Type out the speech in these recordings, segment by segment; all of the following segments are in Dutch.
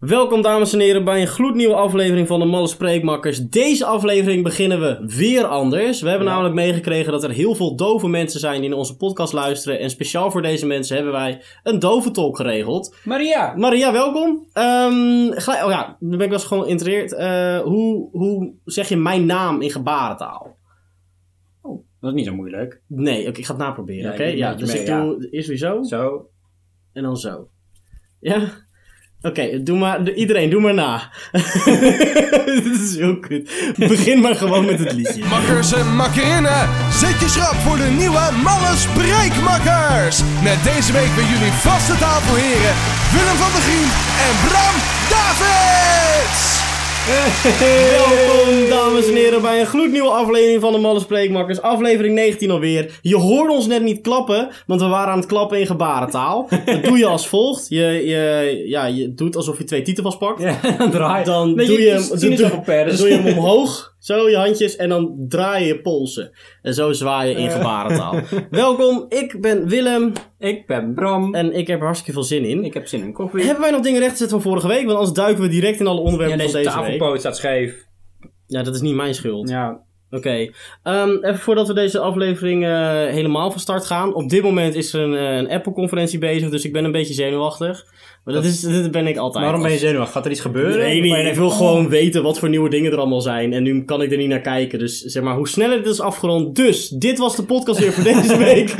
Welkom dames en heren bij een gloednieuwe aflevering van de Malle Spreekmakkers. Deze aflevering beginnen we weer anders. We hebben namelijk meegekregen dat er heel veel dove mensen zijn die naar onze podcast luisteren. En speciaal voor deze mensen hebben wij een dove talk geregeld. Maria! Maria, welkom. Ehm, gelijk- oh ja, dan ben ik wel eens gewoon geïnteresseerd. Eh, hoe, hoe zeg je mijn naam in gebarentaal? Dat is niet zo moeilijk. Nee, oké, ik ga het naproberen, Ja, ik oké? doe het Ja, met je dus mee, ik ja. doe eerst weer zo Zo. en dan zo. Ja? Oké, doe maar, doe- iedereen, doe maar na. Dit is heel kut. Begin maar gewoon met het liedje. Makkers en makkerinnen, zet je schrap voor de nieuwe Malle Spreekmakkers. Met deze week bij jullie vaste tafelheren Willem van der Grien en Bram Davids. Welkom, dames en heren, bij een gloednieuwe aflevering van de Malle Spreekmakkers. Aflevering 19 alweer. Je hoorde ons net niet klappen, want we waren aan het klappen in gebarentaal. Dat doe je als volgt. Je, je, ja, je doet alsof je twee titels pakt. Ah, Ja, dan draai. Dan Nee, doe, je, hem- doet doe, sinaasappel doe- per, dus- doe je hem omhoog, zo je handjes, en dan draai je je polsen. En zo zwaai je Eh. in gebarentaal. Welkom, ik ben Willem Ik ben Bram. en ik heb er hartstikke veel zin in. ik heb zin in koffie. Hebben wij nog dingen rechtgezet van vorige week? Want anders duiken we direct in alle ja, onderwerpen deze, van deze week. tafelpoot staat scheef. Ja, dat is niet mijn schuld. Ja. Oké, Ehm, even voordat we deze aflevering eh, helemaal van start gaan. Op dit moment is er een, eh, een Apple-conferentie bezig, dus ik ben een beetje zenuwachtig. Maar dat, is, dat ben ik altijd. Waarom ben je zenuwachtig? Gaat er iets gebeuren? Nee, Of ben nee, je ik even- wil oh. gewoon weten wat voor nieuwe dingen er allemaal zijn. En nu kan ik er niet naar kijken. Dus zeg maar, hoe sneller dit is afgerond. Dus, dit was de podcast weer voor deze week.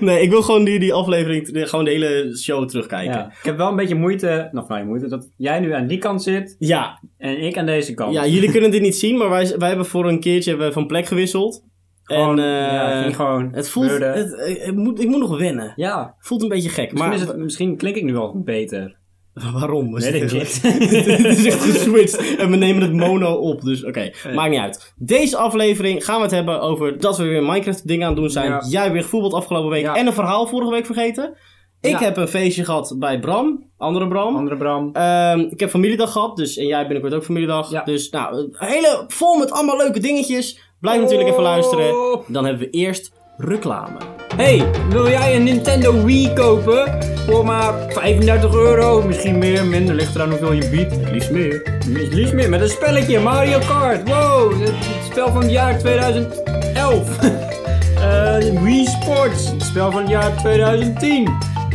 nee, ik wil gewoon die, die aflevering, de- gewoon de hele show terugkijken. ja. Ja, Ik heb wel een beetje moeite, nog nou je moeite, dat jij nu aan die kant zit ja, en ik aan deze kant. jullie kunnen dit niet zien, maar wij, wij hebben voor een keertje hebben we van plek gewisseld. Gewoon, en eh, ja, ging gewoon. het voelt, gebeurde. het, eh, ik moet, ik moet nog wennen. ja. voelt een beetje gek, Misschien, maar is het, misschien klink ik nu wel beter. waarom? Is Weet het ik eigenlijk- Het is echt geswitcht en we nemen het mono op, dus oké, maakt niet uit. Deze aflevering gaan we het hebben over dat we weer Minecraft dingen aan het doen zijn. Ja. Jij weer gevoetbald afgelopen week Ja. en een verhaal vorige week vergeten. Ik Ja. heb een feestje gehad bij Bram, andere Bram. Andere Bram. Ehm, ik heb familiedag gehad, dus en jij binnenkort ook familiedag. Ja. Dus nou, een hele vol met allemaal leuke dingetjes. Blijf natuurlijk even luisteren. Oh. Dan hebben we eerst reclame. Hey, wil jij een Nintendo Wii kopen? Voor maar 35 euro, misschien meer, minder, ligt eraan hoeveel je biedt. Het Liefst meer. Het Liefst meer, met een spelletje, Mario Kart. Wow, het, het spel van het jaar 2011. Eh Wii Sports, het spel van het jaar 2010.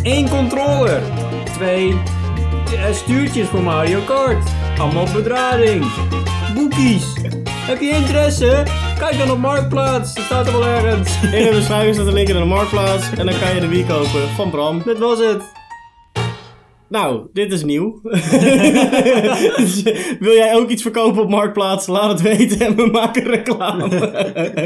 Eén controller, twee eh, stuurtjes voor Mario Kart. Allemaal op bedrading. Boekies. Heb je interesse? Kijk dan op Marktplaats, dat staat er wel ergens. In de beschrijving staat een link naar de marktplaats. En dan kan je de Wii kopen van Bram. Dat was het. Nou, dit is nieuw. Dus, eh, Wil jij ook iets verkopen op Marktplaats? Laat het weten en we maken reclame.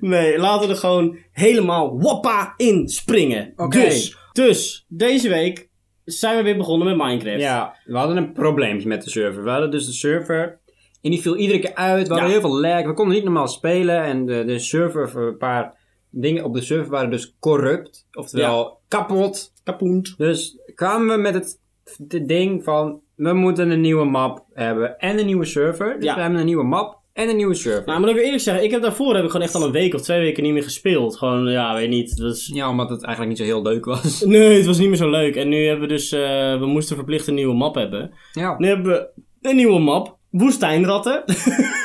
nee, laten we er gewoon helemaal wappa in springen. Oké. Dus, dus, deze week zijn we weer begonnen met Minecraft. Ja, we hadden een probleempje met de server. We hadden dus de server. En die viel iedere keer uit. We hadden Ja. heel veel lag. We konden niet normaal spelen. En de, de server, voor een paar dingen op de server waren dus corrupt. Oftewel kapot. Kapoent. Dus kwamen we met het de ding van... We moeten een nieuwe map hebben. En een nieuwe server. Dus Ja. we hebben een nieuwe map en een nieuwe server. Nou, moet ik wel eerlijk zeggen, ik heb daarvoor heb ik gewoon echt al een week of twee weken niet meer gespeeld. Gewoon, ja, weet niet. Dat is Ja, omdat het eigenlijk niet zo heel leuk was. Nee, het was niet meer zo leuk. En nu hebben we dus, eh, we moesten verplicht een nieuwe map hebben. Ja. Nu hebben we een nieuwe map. Woestijnratten.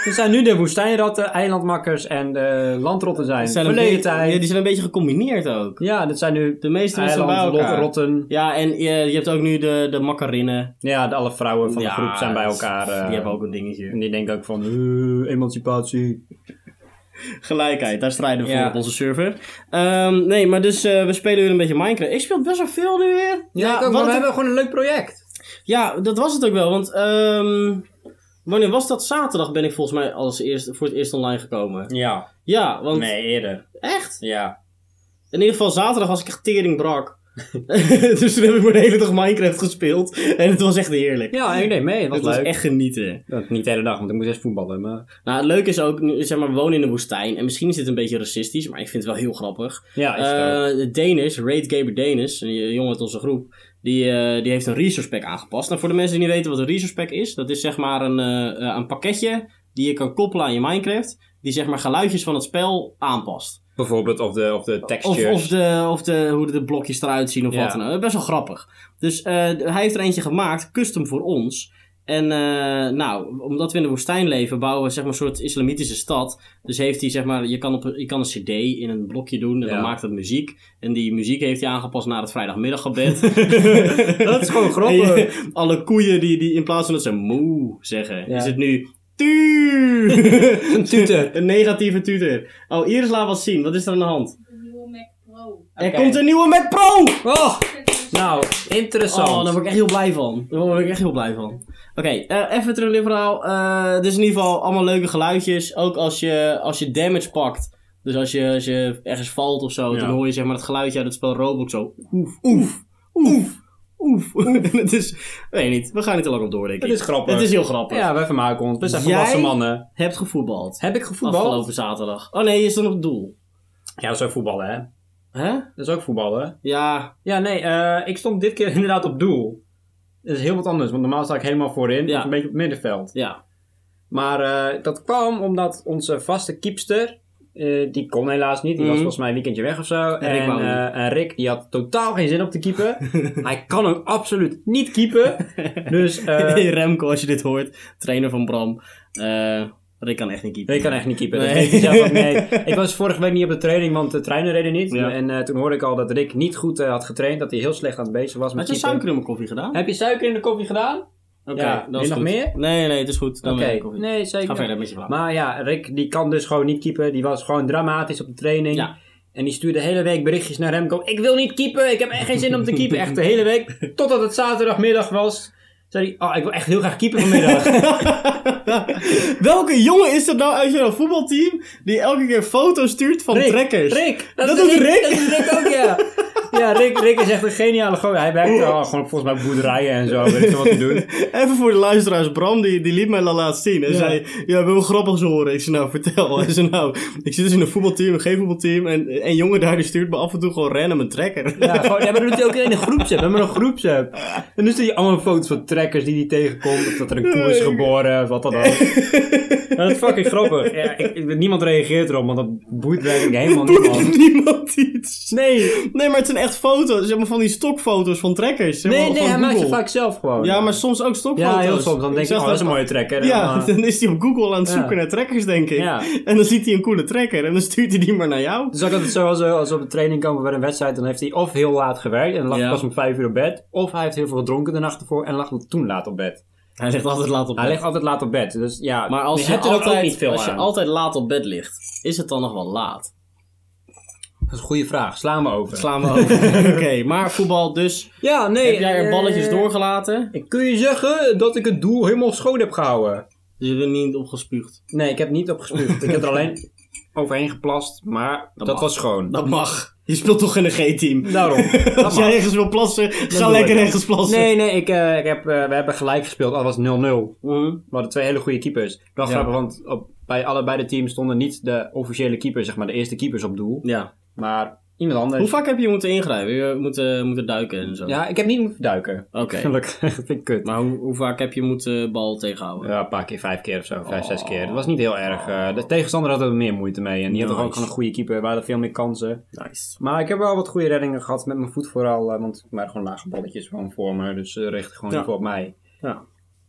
Er zijn nu de woestijnratten, eilandmakkers en de landrotten zijn. Die zijn een verleden beetje- tijd. ja, die zijn een beetje gecombineerd ook. Ja, dat zijn nu De meeste mensen bij eiland, elkaar. rotten. Ja, en eh, je hebt ook nu de, de makkerinnen. Ja, de- alle vrouwen van de Ja, groep zijn bij elkaar. eh, Die hebben ook een dingetje. En die denken ook van, eh, emancipatie. Gelijkheid, daar strijden we Ja. voor op onze server. Ehm, nee, maar dus eh, we spelen weer een beetje Minecraft. Ik speel best wel veel nu weer. Ja, wat we het- hebben gewoon een leuk project. Ja, dat was het ook wel. Want ehm, wanneer was dat? Zaterdag ben ik volgens mij als eerst, voor het eerst online gekomen. Ja. Ja, want... eerder. Echt? Ja. In ieder geval zaterdag was ik echt tering brak. dus toen heb ik maar de hele dag Minecraft gespeeld. En het was echt heerlijk. Ja, ik deed mee. Het was het was leuk. echt genieten. Dat Niet de hele dag, want ik moest eerst voetballen. Maar... Nou, het leuke is ook, nu, zeg maar, we wonen in de woestijn. En misschien is dit een beetje racistisch, maar ik vind het wel heel grappig. Ja, is het ook. Eh, de Denis, Raid Gamer Denis, een jongen uit onze groep, die, eh, die heeft een resource pack aangepast. Nou, voor de mensen die niet weten wat een resource pack is, dat is zeg maar een, eh, eh, een pakketje die je kan koppelen aan je Minecraft, die zeg maar geluidjes van het spel aanpast. Bijvoorbeeld of de, of de Of, textures. of, de, of de, hoe de blokjes eruit zien of Ja. wat dan ook. Best wel grappig. Dus eh, hij heeft er eentje gemaakt, custom voor ons. En eh, nou, omdat we in de woestijn leven, bouwen we zeg maar een soort islamitische stad. Dus heeft hij zeg maar, je kan, op, een- je kan een cd in een blokje doen en Ja. dan maakt het muziek. En die muziek heeft hij aangepast naar het vrijdagmiddaggebed. Dat is gewoon En grappig. je- alle koeien die, die in plaats van dat ze moe zeggen, Ja. is het nu tuur. Een tutor. een negatieve tutor. Oh, Iris laat wat zien. Wat is er aan de hand? De nieuwe Mac Pro. Er komt een nieuwe Mac Pro! Oh, nou, interessant. Oh, daar word ik echt heel blij van. Daar word ik echt heel blij van. Oké, eh, even terug in het verhaal. Eh, dit is in ieder geval allemaal leuke geluidjes. Ook als je, als je damage pakt. Dus als je, als je ergens valt of zo, Ja. dan hoor je zeg maar het geluidje uit het spel Roblox zo. Oef, oef, oef, oef. En het is, weet niet, we gaan niet te lang op door, denk ik. Het is grappig. Het is heel grappig. Ja, wij vermaken ons. We zijn Jij- volwassen mannen. Hebt gevoetbald. Heb ik Afgelopen zaterdag. Oh nee, je stond op het doel. Ja, dat is ook voetballen, hè? Hè? Dat is ook voetballen. Ja, Ja, nee, eh, ik stond dit keer inderdaad op doel. Dat is heel wat anders, want normaal sta ik helemaal voorin. Ja. Of een beetje op het middenveld. ja. Maar eh, dat kwam omdat onze vaste keepster, eh, die kon helaas niet. Die was Mhm. volgens mij een weekendje weg of zo. En, Rick eh, wou niet. en Rick, die had totaal geen zin op te keepen. Hij kan ook absoluut niet keepen. Dus eh, Hey, Remco, als je dit hoort, trainer van Bram. Eh Rick kan echt niet keeper. ik kan echt niet keepen. Nee. Dat weet hij zelf ook. nee. Ik was vorige week niet op de training, want de treinen reden niet. Ja. En eh, toen hoorde ik al dat Rick niet goed eh, had getraind. Dat hij heel slecht aan het bezig was met Had je keepen. suiker in mijn koffie gedaan? Heb je suiker in de koffie gedaan? Oké, Ja, dat wil is je nog goed. meer? Nee, nee, het is goed. Dan Oké, wil ik koffie. nee zeker. Ga verder met je verhaal. Maar ja, Rick die kan dus gewoon niet keepen. Die was gewoon dramatisch op de training. Ja. En die stuurde de hele week berichtjes naar Remco. Ik wil niet keepen, ik heb echt geen zin om te keepen. Echt de hele week, totdat het zaterdagmiddag was. Zei hij, oh ik wil echt heel graag keepen vanmiddag. Welke jongen is dat nou uit jouw voetbalteam die elke keer foto's stuurt van Rick, trekkers? Rick, Dat is doet Rick? Dat doet Rick ook, ja. Ja, Rick, Rick is echt een geniale gozer. Hij werkt oh, gewoon op volgens mij op boerderijen en zo. Weet ik veel wat hij doet. Even voor de luisteraars, Bram die, die liet mij dat laatst zien. En Ja. zei, ja, wil grappig zo horen. Ik zei, nou vertel. Hij zei, nou, ik zit dus in een voetbalteam, een G-voetbalteam. En een jongen daar die stuurt me af en toe gewoon random een trekker. Ja, gewoon, ja, maar dat doet hij ook in een groepsapp. We hebben een groepsapp. En nu zie je allemaal foto's van trekkers die hij tegenkomt. Of dat er een koe is geboren, of wat dan ook. Maar dat is fucking grappig. Ja, ik, ik- niemand reageert erop, want dat boeit werkelijk helemaal niemand. Doet niemand iets. Nee, Nee, maar het zijn echt foto's. Zeg maar van die stokfoto's van trekkers. Zeg maar, nee, nee van hij maakt ze Google. vaak zelf gewoon. Ja, maar soms ook stokfoto's. ja heel soms. Dan denk ik, zag oh, dat is een mooie trekker. En Ja, dan, eh, dan is hij op Google aan het Ja. zoeken naar trekkers, denk ik. Ja. En dan ziet hij een coole trekker en dan stuurt hij die maar naar jou. dus ook altijd zo, als we, als we op de training komen bij een wedstrijd, dan heeft hij of heel laat gewerkt en lag Ja. pas om vijf uur op bed. Of hij heeft heel veel gedronken de nacht ervoor en lag toen laat op bed. Hij ligt altijd laat op Hij ligt altijd laat op bed. Dus ja, Maar als je, hebt er ook altijd, niet veel als je aan. altijd laat op bed ligt, is het dan nog wel laat? Dat is een goede vraag. Slaan we over. Slaan we over. Oké, maar voetbal dus. Ja, nee. Heb jij er eh, balletjes doorgelaten? Ik kun je zeggen dat ik het doel helemaal schoon heb gehouden. Dus je bent niet opgespuugd. Nee, ik heb niet opgespuugd. ik heb er alleen overheen geplast, maar dat, mag. was schoon. Dat mag. Je speelt toch in een G-team? Daarom. Dat Als mag. jij ergens wil plassen, ga doe lekker ik. ergens plassen. Nee, nee, ik, eh, ik heb, eh, we hebben gelijk gespeeld. Al was 0-0. We Mhm. hadden twee hele goede keepers. Wel Ja. grappig, want op, bij allebei de teams stonden niet de officiële keepers, zeg maar de eerste keepers op doel. Ja. Maar iemand anders. Hoe vaak heb je moeten ingrijpen? Je moeten, moeten duiken en zo? Ja, ik heb niet moeten duiken. Oké. Gelukkig. dat vind ik kut. Maar hoe, hoe vaak heb je moeten bal tegenhouden? Ja, een paar keer, vijf keer of zo, vijf, Oh. zes keer. Dat was niet heel erg. eh, de tegenstander had er meer moeite mee. En die had toch ook Nice. gewoon een goede keeper. We hadden veel meer kansen. Nice. Maar ik heb wel wat goede reddingen gehad met mijn voet vooral. eh, want er waren gewoon lage balletjes gewoon voor me. Dus ze richtten gewoon Ja. niet voor op mij. Ja.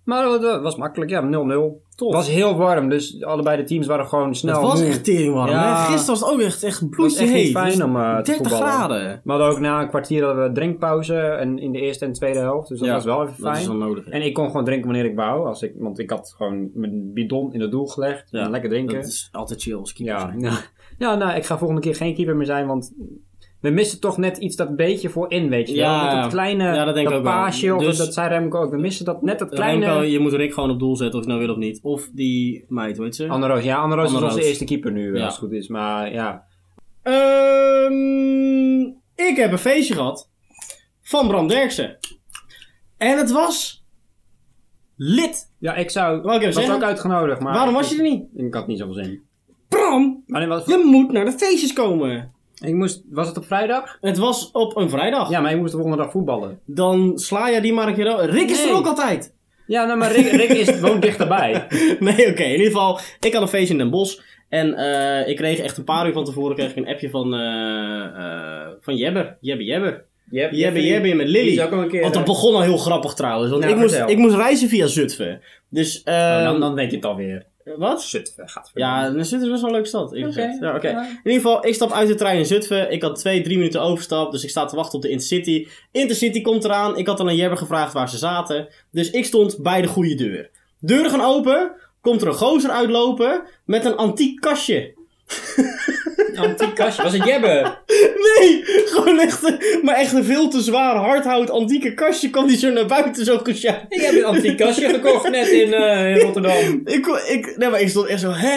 Maar dat dat was makkelijk. Ja, 0-0. Het was heel warm. Dus allebei de teams waren gewoon snel het was moe. echt tering warm. Ja. hè? Gisteren was het ook echt, echt Het was bloedje echt niet heet. fijn om eh, te 30 voetballen. graden. We hadden ook na een kwartier hadden we drinkpauze. En in de eerste en tweede helft. Dus dat Ja, was wel even fijn. Dat is wel nodig. hè. En ik kon gewoon drinken wanneer ik wou. Als ik, want ik had gewoon mijn bidon in het doel gelegd. Ja, en lekker drinken. Dat eh, is altijd chill als keeper Ja, zijn. ja. ja, nou, ik ga volgende keer geen keeper meer zijn, want we missen toch net iets dat beetje voor in, weet je Ja, wel. Dat, ja. dat kleine Ja, dat denk ik ook wel. paasje, of Dus- dat zei Remco ook, we missen dat net dat kleine... Remco, je moet Rick gewoon op doel zetten of je nou wil of niet. Of die meid, weet ze. Anne Roos, ja, Anne Roos is Anne onze Roos. eerste keeper nu, eh, Ja. als het goed is. Maar ja, Ehm, ik heb een feestje gehad van Bram Derksen. En het was lid. ja ik zou... Wou ik even was zeggen? ook uitgenodigd, maar... Waarom was je er niet? Ik had niet zoveel zin. Bram, Wanneer was... je moet naar de feestjes komen. Ik moest... Was het op vrijdag? Het was op een vrijdag. Ja, maar ik moest de volgende dag voetballen. Dan sla je die maar een keer over. Rick is Nee. er ook altijd. Ja, nou, maar Rick, Rick is, woont dichterbij. Nee, oké. In ieder geval, ik had een feestje in Den Bosch. En eh, ik kreeg echt een paar uur van tevoren kreeg ik een appje van, eh, eh, van Jebber. Jebber Jebber. Jeb, Jebber Jebber met Lily. Die is ook al een keer, Want dat eh, begon al heel grappig trouwens. Want Nou, ik, moest, vertel. ik moest reizen via Zutphen. Dus, eh, Oh, dan, dan weet je het alweer. Wat? Zutphen gaat verder. Ja, dan Zutphen is best wel een leuke stad. eerlijk Oké, gezegd. Ja, oké. ja. In ieder geval, ik stap uit de trein in Zutphen. Ik had twee, drie minuten overstap. Dus ik sta te wachten op de Intercity. Intercity komt eraan. Ik had al aan Jebber gevraagd waar ze zaten. Dus ik stond bij de goede deur. Deuren gaan open. Komt er een gozer uitlopen met een antiek kastje. Antiek kastje. Was het Jebbe? Nee, gewoon echt, een- maar echt een veel te zwaar hardhout antieke kastje kwam die zo naar buiten zo gesjouwd. Ik heb een antiek kastje gekocht net in, eh, in Rotterdam. Ik, kon- ik, nee, maar ik stond echt zo, hè?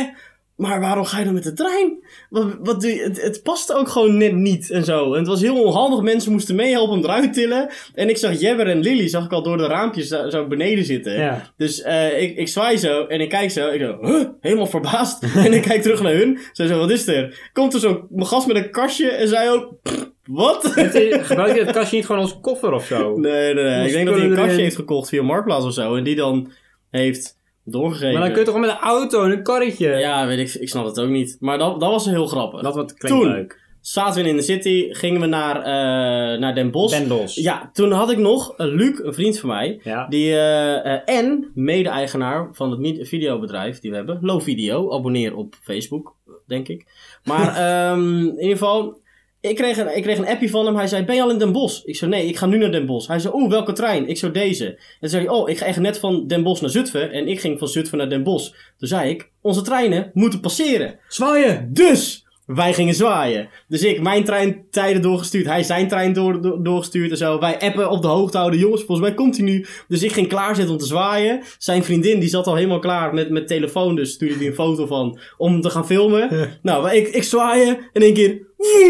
Maar waarom ga je dan met de trein? Wat, wat doe je? Het, het paste ook gewoon net niet en zo. En het was heel onhandig. Mensen moesten meehelpen om eruit tillen. En ik zag Jebber en Lily, zag ik al door de raampjes zo zo beneden zitten. Ja. Dus eh, ik, ik zwaai zo en ik kijk zo. Ik zo, huh? helemaal verbaasd. en ik kijk terug naar hun. Ze zo, wat is er? Komt er zo'n gast met een kastje en zij ook, "Pff, wat? Gebruik je het kastje niet gewoon als koffer of zo? Nee, nee, nee. Ik denk dat hij een spullen kastje erin. heeft gekocht via Marktplaats of zo. En die dan heeft doorgegeven. Maar dan kun je toch gewoon met een auto en een karretje? Ja, weet ik. Ik snap het ook niet. Maar dat, dat was heel grappig. Dat wat klinkt Toen. leuk. Zaten we in de city, gingen we naar, eh, naar Den Bosch. Ben los. Ja, toen had ik nog eh, Luc, een vriend van mij. Ja. Die, eh, eh, en mede-eigenaar van het mi- videobedrijf die we hebben. Low Video. Abonneer op Facebook, denk ik. Maar ehm, in ieder geval, ik kreeg, een, ik kreeg een appje van hem. Hij zei, ben je al in Den Bosch? Ik zei, nee, ik ga nu naar Den Bosch. Hij zei, oh, welke trein? Ik zei, deze. En toen zei hij, oh, ik ga echt net van Den Bosch naar Zutphen. En ik ging van Zutphen naar Den Bosch. Toen zei ik, onze treinen moeten passeren. Zwaaien! Dus wij gingen zwaaien. Dus ik mijn treintijden doorgestuurd. Hij zijn trein door, door- doorgestuurd en zo. Wij appen op de hoogte houden. Jongens, volgens mij komt hij nu. Dus ik ging klaarzetten om te zwaaien. Zijn vriendin die zat al helemaal klaar met, met telefoon. Dus stuurde die een foto van om te gaan filmen. Nou, maar ik, ik zwaaien. En één keer...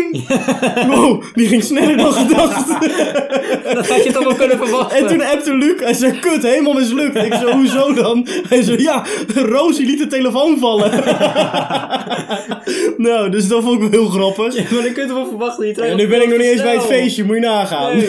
woem. Wow, die ging sneller dan gedacht. Dat had je toch wel kunnen verwachten. En toen appte Luc. Hij zei, kut, helemaal mislukt. Ik zo, hoezo dan? Hij zei, ja, Rosie liet de telefoon vallen. nou, dus dat vond ik wel heel grappig. Maar dan kun je toch wel verwachten. Die trein En nu ben ik nog niet eens bij snel. het feestje, moet je nagaan.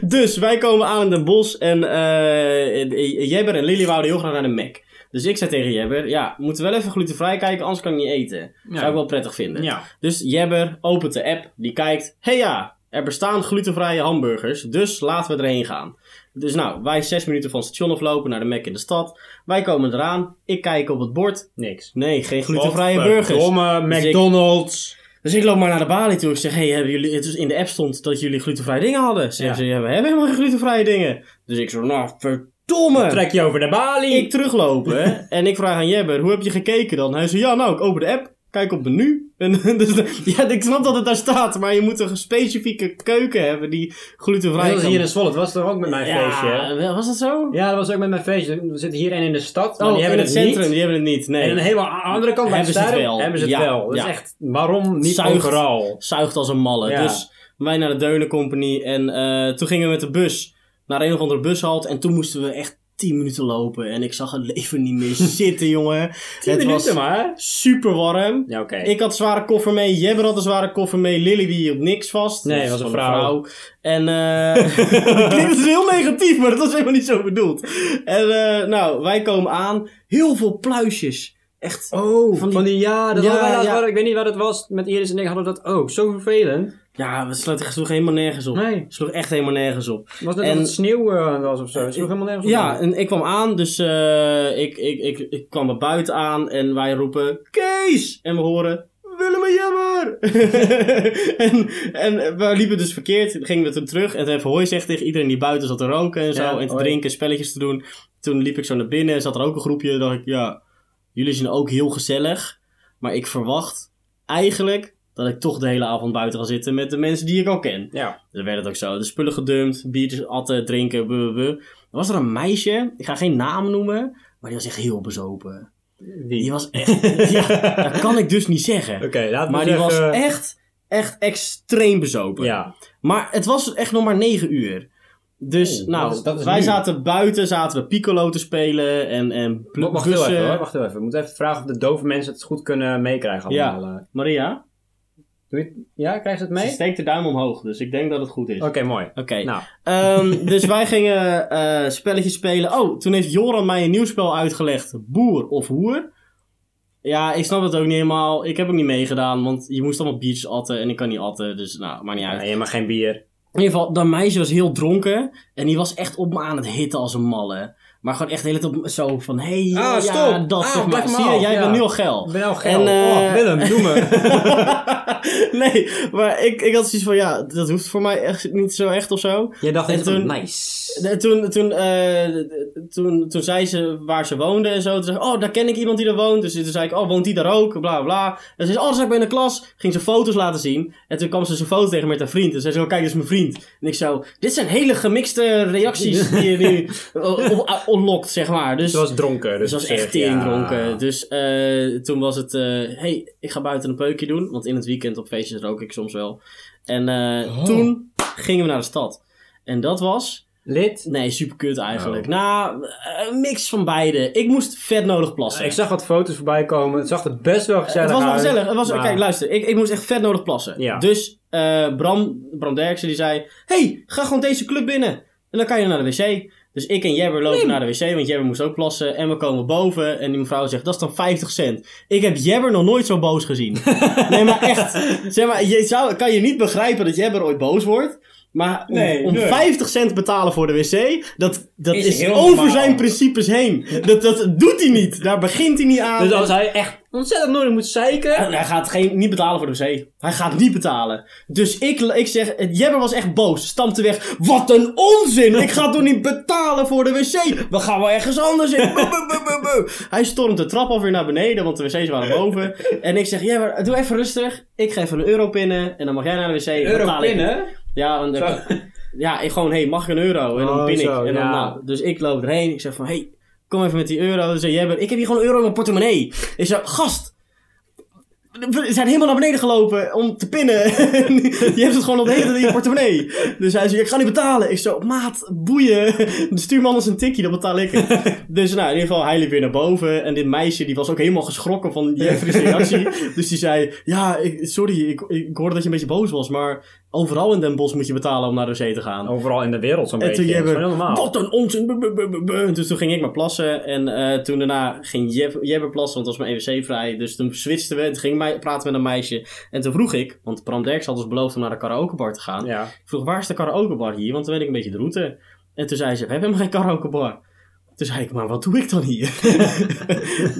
dus wij komen aan in Den Bosch en eh, Jebber en Lily wouden heel graag naar de Mac. Dus ik zei tegen Jebber, ja, we moeten wel even glutenvrij kijken, anders kan ik niet eten. Zou ik wel prettig vinden. Ja. Dus Jebber opent de app, die kijkt, hé hey ja, er bestaan glutenvrije hamburgers, dus laten we erheen gaan. Dus nou, wij zes minuten van het station aflopen naar de Mac in de stad. Wij komen eraan, ik kijk op het bord, Niks. nee, geen glutenvrije burgers. Domme Dus ik- McDonald's. Dus ik loop maar naar de balie toe. Ik zeg, hey, hebben jullie... Het is in de app stond dat jullie glutenvrije dingen hadden. Ze Ja. zeggen, ja, we hebben helemaal geen glutenvrije dingen. Dus ik zo, nou, verdomme. Trek je over de balie. Ik teruglopen en ik vraag aan Jebber, hoe heb je gekeken dan? Hij zei, ja, nou, ik open de app. Kijk op menu. En, dus, de- ja, ik snap dat het daar staat, maar je moet een specifieke keuken hebben die glutenvrij Dat was kan- hier in Zwolle. Dat was toch ook met mijn feestje. hè? Ja, was dat zo? Ja, dat was ook met mijn feestje. Er zit hier één in de stad. Maar Oh, die hebben in het het centrum, Niet. die hebben het niet. Nee. En aan de hele andere kant bij Hebben ze het stadion wel. Hebben ze het Ja, wel. Dat ja. is echt. Waarom niet Zuigt. overal? zuigt als een malle. Ja. Dus wij naar de Deunen Company en eh, toen gingen we met de bus naar een of andere bushalte en toen moesten we echt 10 minuten lopen en ik zag het leven niet meer zitten, jongen. Tien het minuten was maar. super warm. Ja, oké. Ik had zware koffer mee, Jebber had een zware koffer mee, Lily die hield niks vast. Nee, Dat was een van vrouw. En eh klinkt dus heel negatief, maar dat was helemaal niet zo bedoeld. En eh, nou, wij komen aan, heel veel pluisjes. Echt Oh, van die, ja, dat Ja, hadden wij laatst ja. wel. ik weet niet wat het was, met Iris en ik hadden dat ook. Zo vervelend. Ja, het sloeg sloeg helemaal nergens op. Nee. Het sloeg echt helemaal nergens op. Het was net En- alsof het sneeuw eh, was of zo. Het sloeg helemaal nergens op. Ja, en ik kwam aan, dus eh, ik, ik, ik, ik kwam er buiten aan en wij roepen Kees! En we horen Willem en Jemmer! en, en we liepen dus verkeerd, Toen gingen we toen terug en toen heeft Hoi zegt tegen iedereen die buiten zat te roken en zo Ja, en te hoi. drinken, spelletjes te doen. Toen liep ik zo naar binnen en zat er ook een groepje en dacht ik, ja, jullie zijn ook heel gezellig, maar ik verwacht eigenlijk dat ik toch de hele avond buiten ga zitten met de mensen die ik al ken. Ja. Dan werd het ook zo. De spullen gedumpt, biertjes atten, drinken, buh, buh, buh. Dan was er een meisje, ik ga geen naam noemen, maar die was echt heel bezopen. Die Wie? was echt, ja, dat kan ik dus niet zeggen. Oké, Maar laat maar die zeggen. was echt, echt extreem bezopen. Ja. Maar het was echt nog maar negen uur. Dus Oeh, nou, Oh, dat is- dat is wij nu. zaten buiten, zaten we piccolo te spelen en, en pl- Wacht heel bussen. even hoor, wacht heel even. We moeten even vragen of de dove mensen het goed kunnen meekrijgen Ja. allemaal. eh. Maria, Doe je het? Ja, krijgt het ze mee? steekt de duim omhoog, dus ik denk dat het goed is. Oké, mooi. Oké. Nou, Ehm, dus wij gingen eh, spelletjes spelen. Oh, toen heeft Joran mij een nieuw spel uitgelegd. Boer of hoer. Ja, ik snap het ook niet helemaal. Ik heb ook niet meegedaan, want je moest allemaal biertjes atten en ik kan niet atten, dus nou, maakt niet uit. Nee, maar geen bier. In ieder geval, dat meisje was heel dronken en die was echt op me aan het hitten als een malle. Maar gewoon echt de hele tijd op- zo van, hé, hey, Ah, ja, stop. dat Ah, zeg maar. blijf maar Zie je, af, jij ja. bent nu al geil. Ik ben al geil. En, eh, oh, Willem, doe me. nee, maar ik, ik had zoiets van, ja, dat hoeft voor mij echt niet zo echt of zo. Jij dacht En echt, van, toen- nice. En Toen, toen, eh, toen, toen zei ze waar ze woonde en zo. Toen zei ik, oh, daar ken ik iemand die daar woont. Dus toen zei ik, oh, woont die daar ook? Bla, bla, bla. En ze zei, oh, dat zat ik bij in de klas. Ging ze foto's laten zien. En toen kwam ze zijn foto tegen met haar vriend. En zei ze, oh, kijk, dit is mijn vriend. En ik zo, dit zijn hele gemixte reacties die je nu eh, on- eh, onlokt, zeg maar. Dus Ze was dronken. Dus ze was op echt zich, tering ja. dronken. Dus eh, toen was het, hé, hey, ik ga buiten een peukje doen. Want in het weekend op feestjes rook ik soms wel. En eh, Oh. toen gingen we naar de stad. En dat was Lid? Nee, super kut eigenlijk. Nou, eh, een mix van beide. Ik moest vet nodig plassen. Ik zag wat foto's voorbij komen. Het zag er best wel gezellig het was uit. wel gezellig. Het was, nou, maar- Kijk, luister. Ik, ik moest echt vet nodig plassen. Ja. Dus eh, Bram, Bram Derksen die zei... hey, ga gewoon deze club binnen. En dan kan je naar de wc. Dus ik en Jebber lopen naar de wc, want Jebber moest ook plassen. En we komen boven en die mevrouw zegt, dat is dan 50 cent. Ik heb Jebber nog nooit zo boos gezien. nee, maar echt. Zeg maar, je zou, kan je niet begrijpen dat Jebber ooit boos wordt. Maar om, Nee, om nee. 50 cent betalen voor de wc, dat, dat Is is, heel over normaal. zijn principes heen. Dat, dat doet hij niet. Daar begint hij niet aan. Dus als hij echt ontzettend nodig moet zeiken. En hij gaat geen, niet betalen voor de wc. Hij gaat niet betalen. Dus ik, ik zeg, Jebber was echt boos. Stampte weg. Wat een onzin! Ik ga toch niet betalen voor de wc? We gaan wel ergens anders in. Bu, bu, bu, bu, bu. Hij stormt de trap alweer naar beneden, want de wc's waren boven. En ik zeg, Jebber, doe even rustig. Ik geef een euro pinnen en dan mag jij naar de wc. Euro Betaal ik. pinnen. Ja, want Zo. ja, ik gewoon, hé, hey, mag ik een euro? En dan Oh, pin ik. zo, en dan, ja. nou, dus ik loop erheen. Ik zeg van, hé, hey, kom even met die euro. Dan zei Jebber, ik heb hier gewoon een euro in mijn portemonnee. Ik zeg, gast. We zijn helemaal naar beneden gelopen om te pinnen. je hebt het gewoon op de hele tijd in je portemonnee. Dus hij zei, ik ga niet betalen. Ik zo, maat, boeien. Stuur me anders een tikje, dan betaal ik het. dus nou, in ieder geval, hij liep weer naar boven. En dit meisje, die was ook helemaal geschrokken van Jeffrey's reactie. dus die zei, ja, ik, sorry, ik, ik hoorde dat je een beetje boos was. Maar overal in Den Bosch moet je betalen om naar de zee te gaan. Overal in de wereld zo'n En beetje. toen Dat is Jebber, gewoon heel normaal. wat eh, een onzin. bu- bu- bu- bu- bu. Dus toen ging ik maar plassen. En eh, toen daarna ging Jeb- Jebber plassen, want het was mijn EWC vrij. Dus toen switchten we en toen ging ik mij- praten met een meisje. En toen vroeg ik, want Bram Derks had ons beloofd om naar de karaokebar te gaan. Ja. Ik vroeg, waar is de karaokebar hier? Want dan weet ik een beetje de route. En toen zei ze, we hebben helemaal geen karaokebar. Toen zei ik, maar wat doe ik dan hier?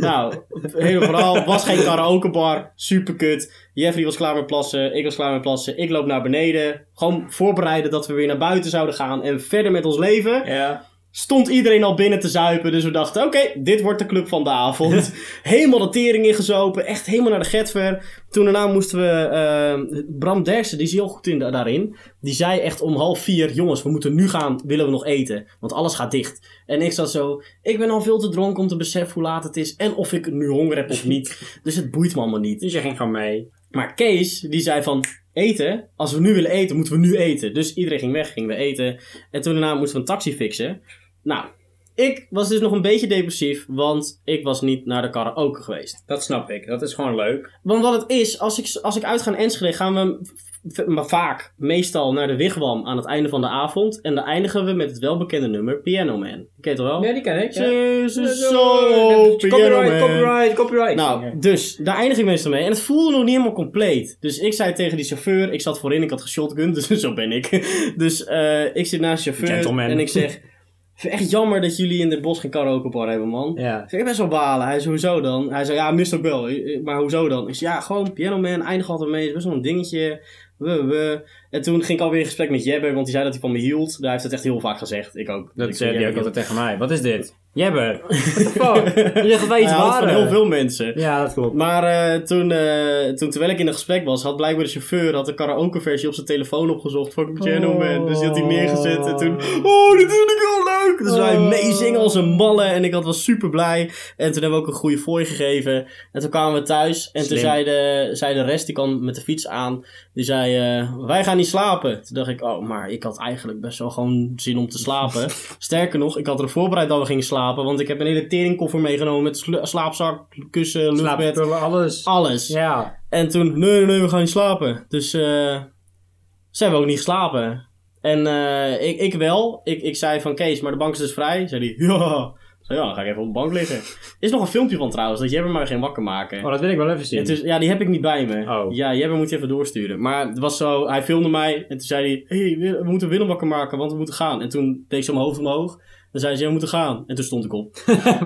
nou, helemaal vooral, was geen karaokebar. Super kut. Jeffrey was klaar met plassen. Ik was klaar met plassen. Ik loop naar beneden. Gewoon voorbereiden dat we weer naar buiten zouden gaan. En verder met ons leven Ja. stond iedereen al binnen te zuipen. Dus we dachten, oké, dit wordt de club van de avond. helemaal de tering ingezopen. Echt helemaal naar de getver. Toen daarna moesten we... eh, Bram Dersen, die is heel goed in, da- daarin. Die zei echt om half vier... Jongens, we moeten nu gaan. Willen we nog eten? Want alles gaat dicht. En ik zat zo... Ik ben al veel te dronken om te beseffen hoe laat het is. En of ik nu honger heb of niet. dus het boeit me allemaal niet. Dus je ging gewoon mee. Maar Kees, die zei van... Eten? Als we nu willen eten, moeten we nu eten. Dus iedereen ging weg, gingen we eten. En toen daarna moesten we een taxi fixen. Nou, ik was dus nog een beetje depressief, want ik was niet naar de karaoke geweest. Dat snap ik. Dat is gewoon leuk. Want wat het is, als ik, als ik uitga in Enschede, gaan we v- v- maar vaak, meestal, naar de wigwam aan het einde van de avond. En dan eindigen we met het welbekende nummer Piano Man. Ken je het wel? die ken ik. Jesus, so, Piano Copyright, Man. copyright, copyright. Ja. Nou, dus daar eindig ik meestal mee. En het voelde nog niet helemaal compleet. Dus ik zei tegen die chauffeur, ik zat voorin, ik had geshotgun, dus zo ben ik. Dus eh, ik zit naast de chauffeur Gentleman. en ik zeg, ik vind het echt jammer dat jullie in Den Bosch geen karaokebar hebben, man. Ja. Ik zeg, ik best wel balen. Hij zei, hoezo dan? Hij zei, ja, mist ook wel. eh, Maar hoezo dan? Ik zei, ja, gewoon Piano Man, eindig altijd mee. Het is best wel een dingetje. We, we. En toen ging ik alweer in gesprek met Jebber, want die zei dat hij van me hield. Hij heeft het echt heel vaak gezegd. Ik ook. Dat Ik zei vind hij ook Jebber altijd tegen mij. Wat is dit? Jebber. What the fuck? Je ligt bij heel- iets Hij houdt van waren. heel veel mensen. eh. Ja, dat klopt. Maar eh, toen, eh, toen, terwijl ik in een gesprek was, had blijkbaar de chauffeur had de karaoke-versie op zijn telefoon opgezocht van Piano Man. Dus die had hij neergezet en toen, oh, dit vind ik wel leuk! Dus wij Oh. meezingen als een malle en ik had, was super blij. En toen hebben we ook een goede fooi gegeven. En toen kwamen we thuis en Slim. toen zei de, zei de rest, die kwam met de fiets aan, die zei, eh, wij gaan niet slapen. Toen dacht ik, oh, maar ik had eigenlijk best wel gewoon zin om te slapen. Sterker nog, ik had er voorbereid dat we gingen slapen, want ik heb een hele teringkoffer meegenomen met slu- slaapzak, kussen, luchtbed. Slaapspullen, alles. Alles. Ja. En toen, nee, nee, nee, we gaan niet slapen. Dus eh, ze hebben ook niet geslapen. En eh, ik, ik wel. Ik, ik zei van Kees, maar de bank is dus vrij. Zei hij, ja. Zo ja, dan ga ik even op de bank liggen. Er is nog een filmpje van trouwens, dat Jebber maar geen wakker maken. Oh, dat wil ik wel even zien. En toen- ja, die heb ik niet bij me. Oh. Ja, Jebber moet je even doorsturen. Maar het was zo, hij filmde mij en toen zei hij... hey, Wil- we moeten Willem wakker maken, want we moeten gaan. En toen deed ik zo mijn hoofd omhoog. Dan zei ze, ja, we moeten gaan. En toen stond ik op.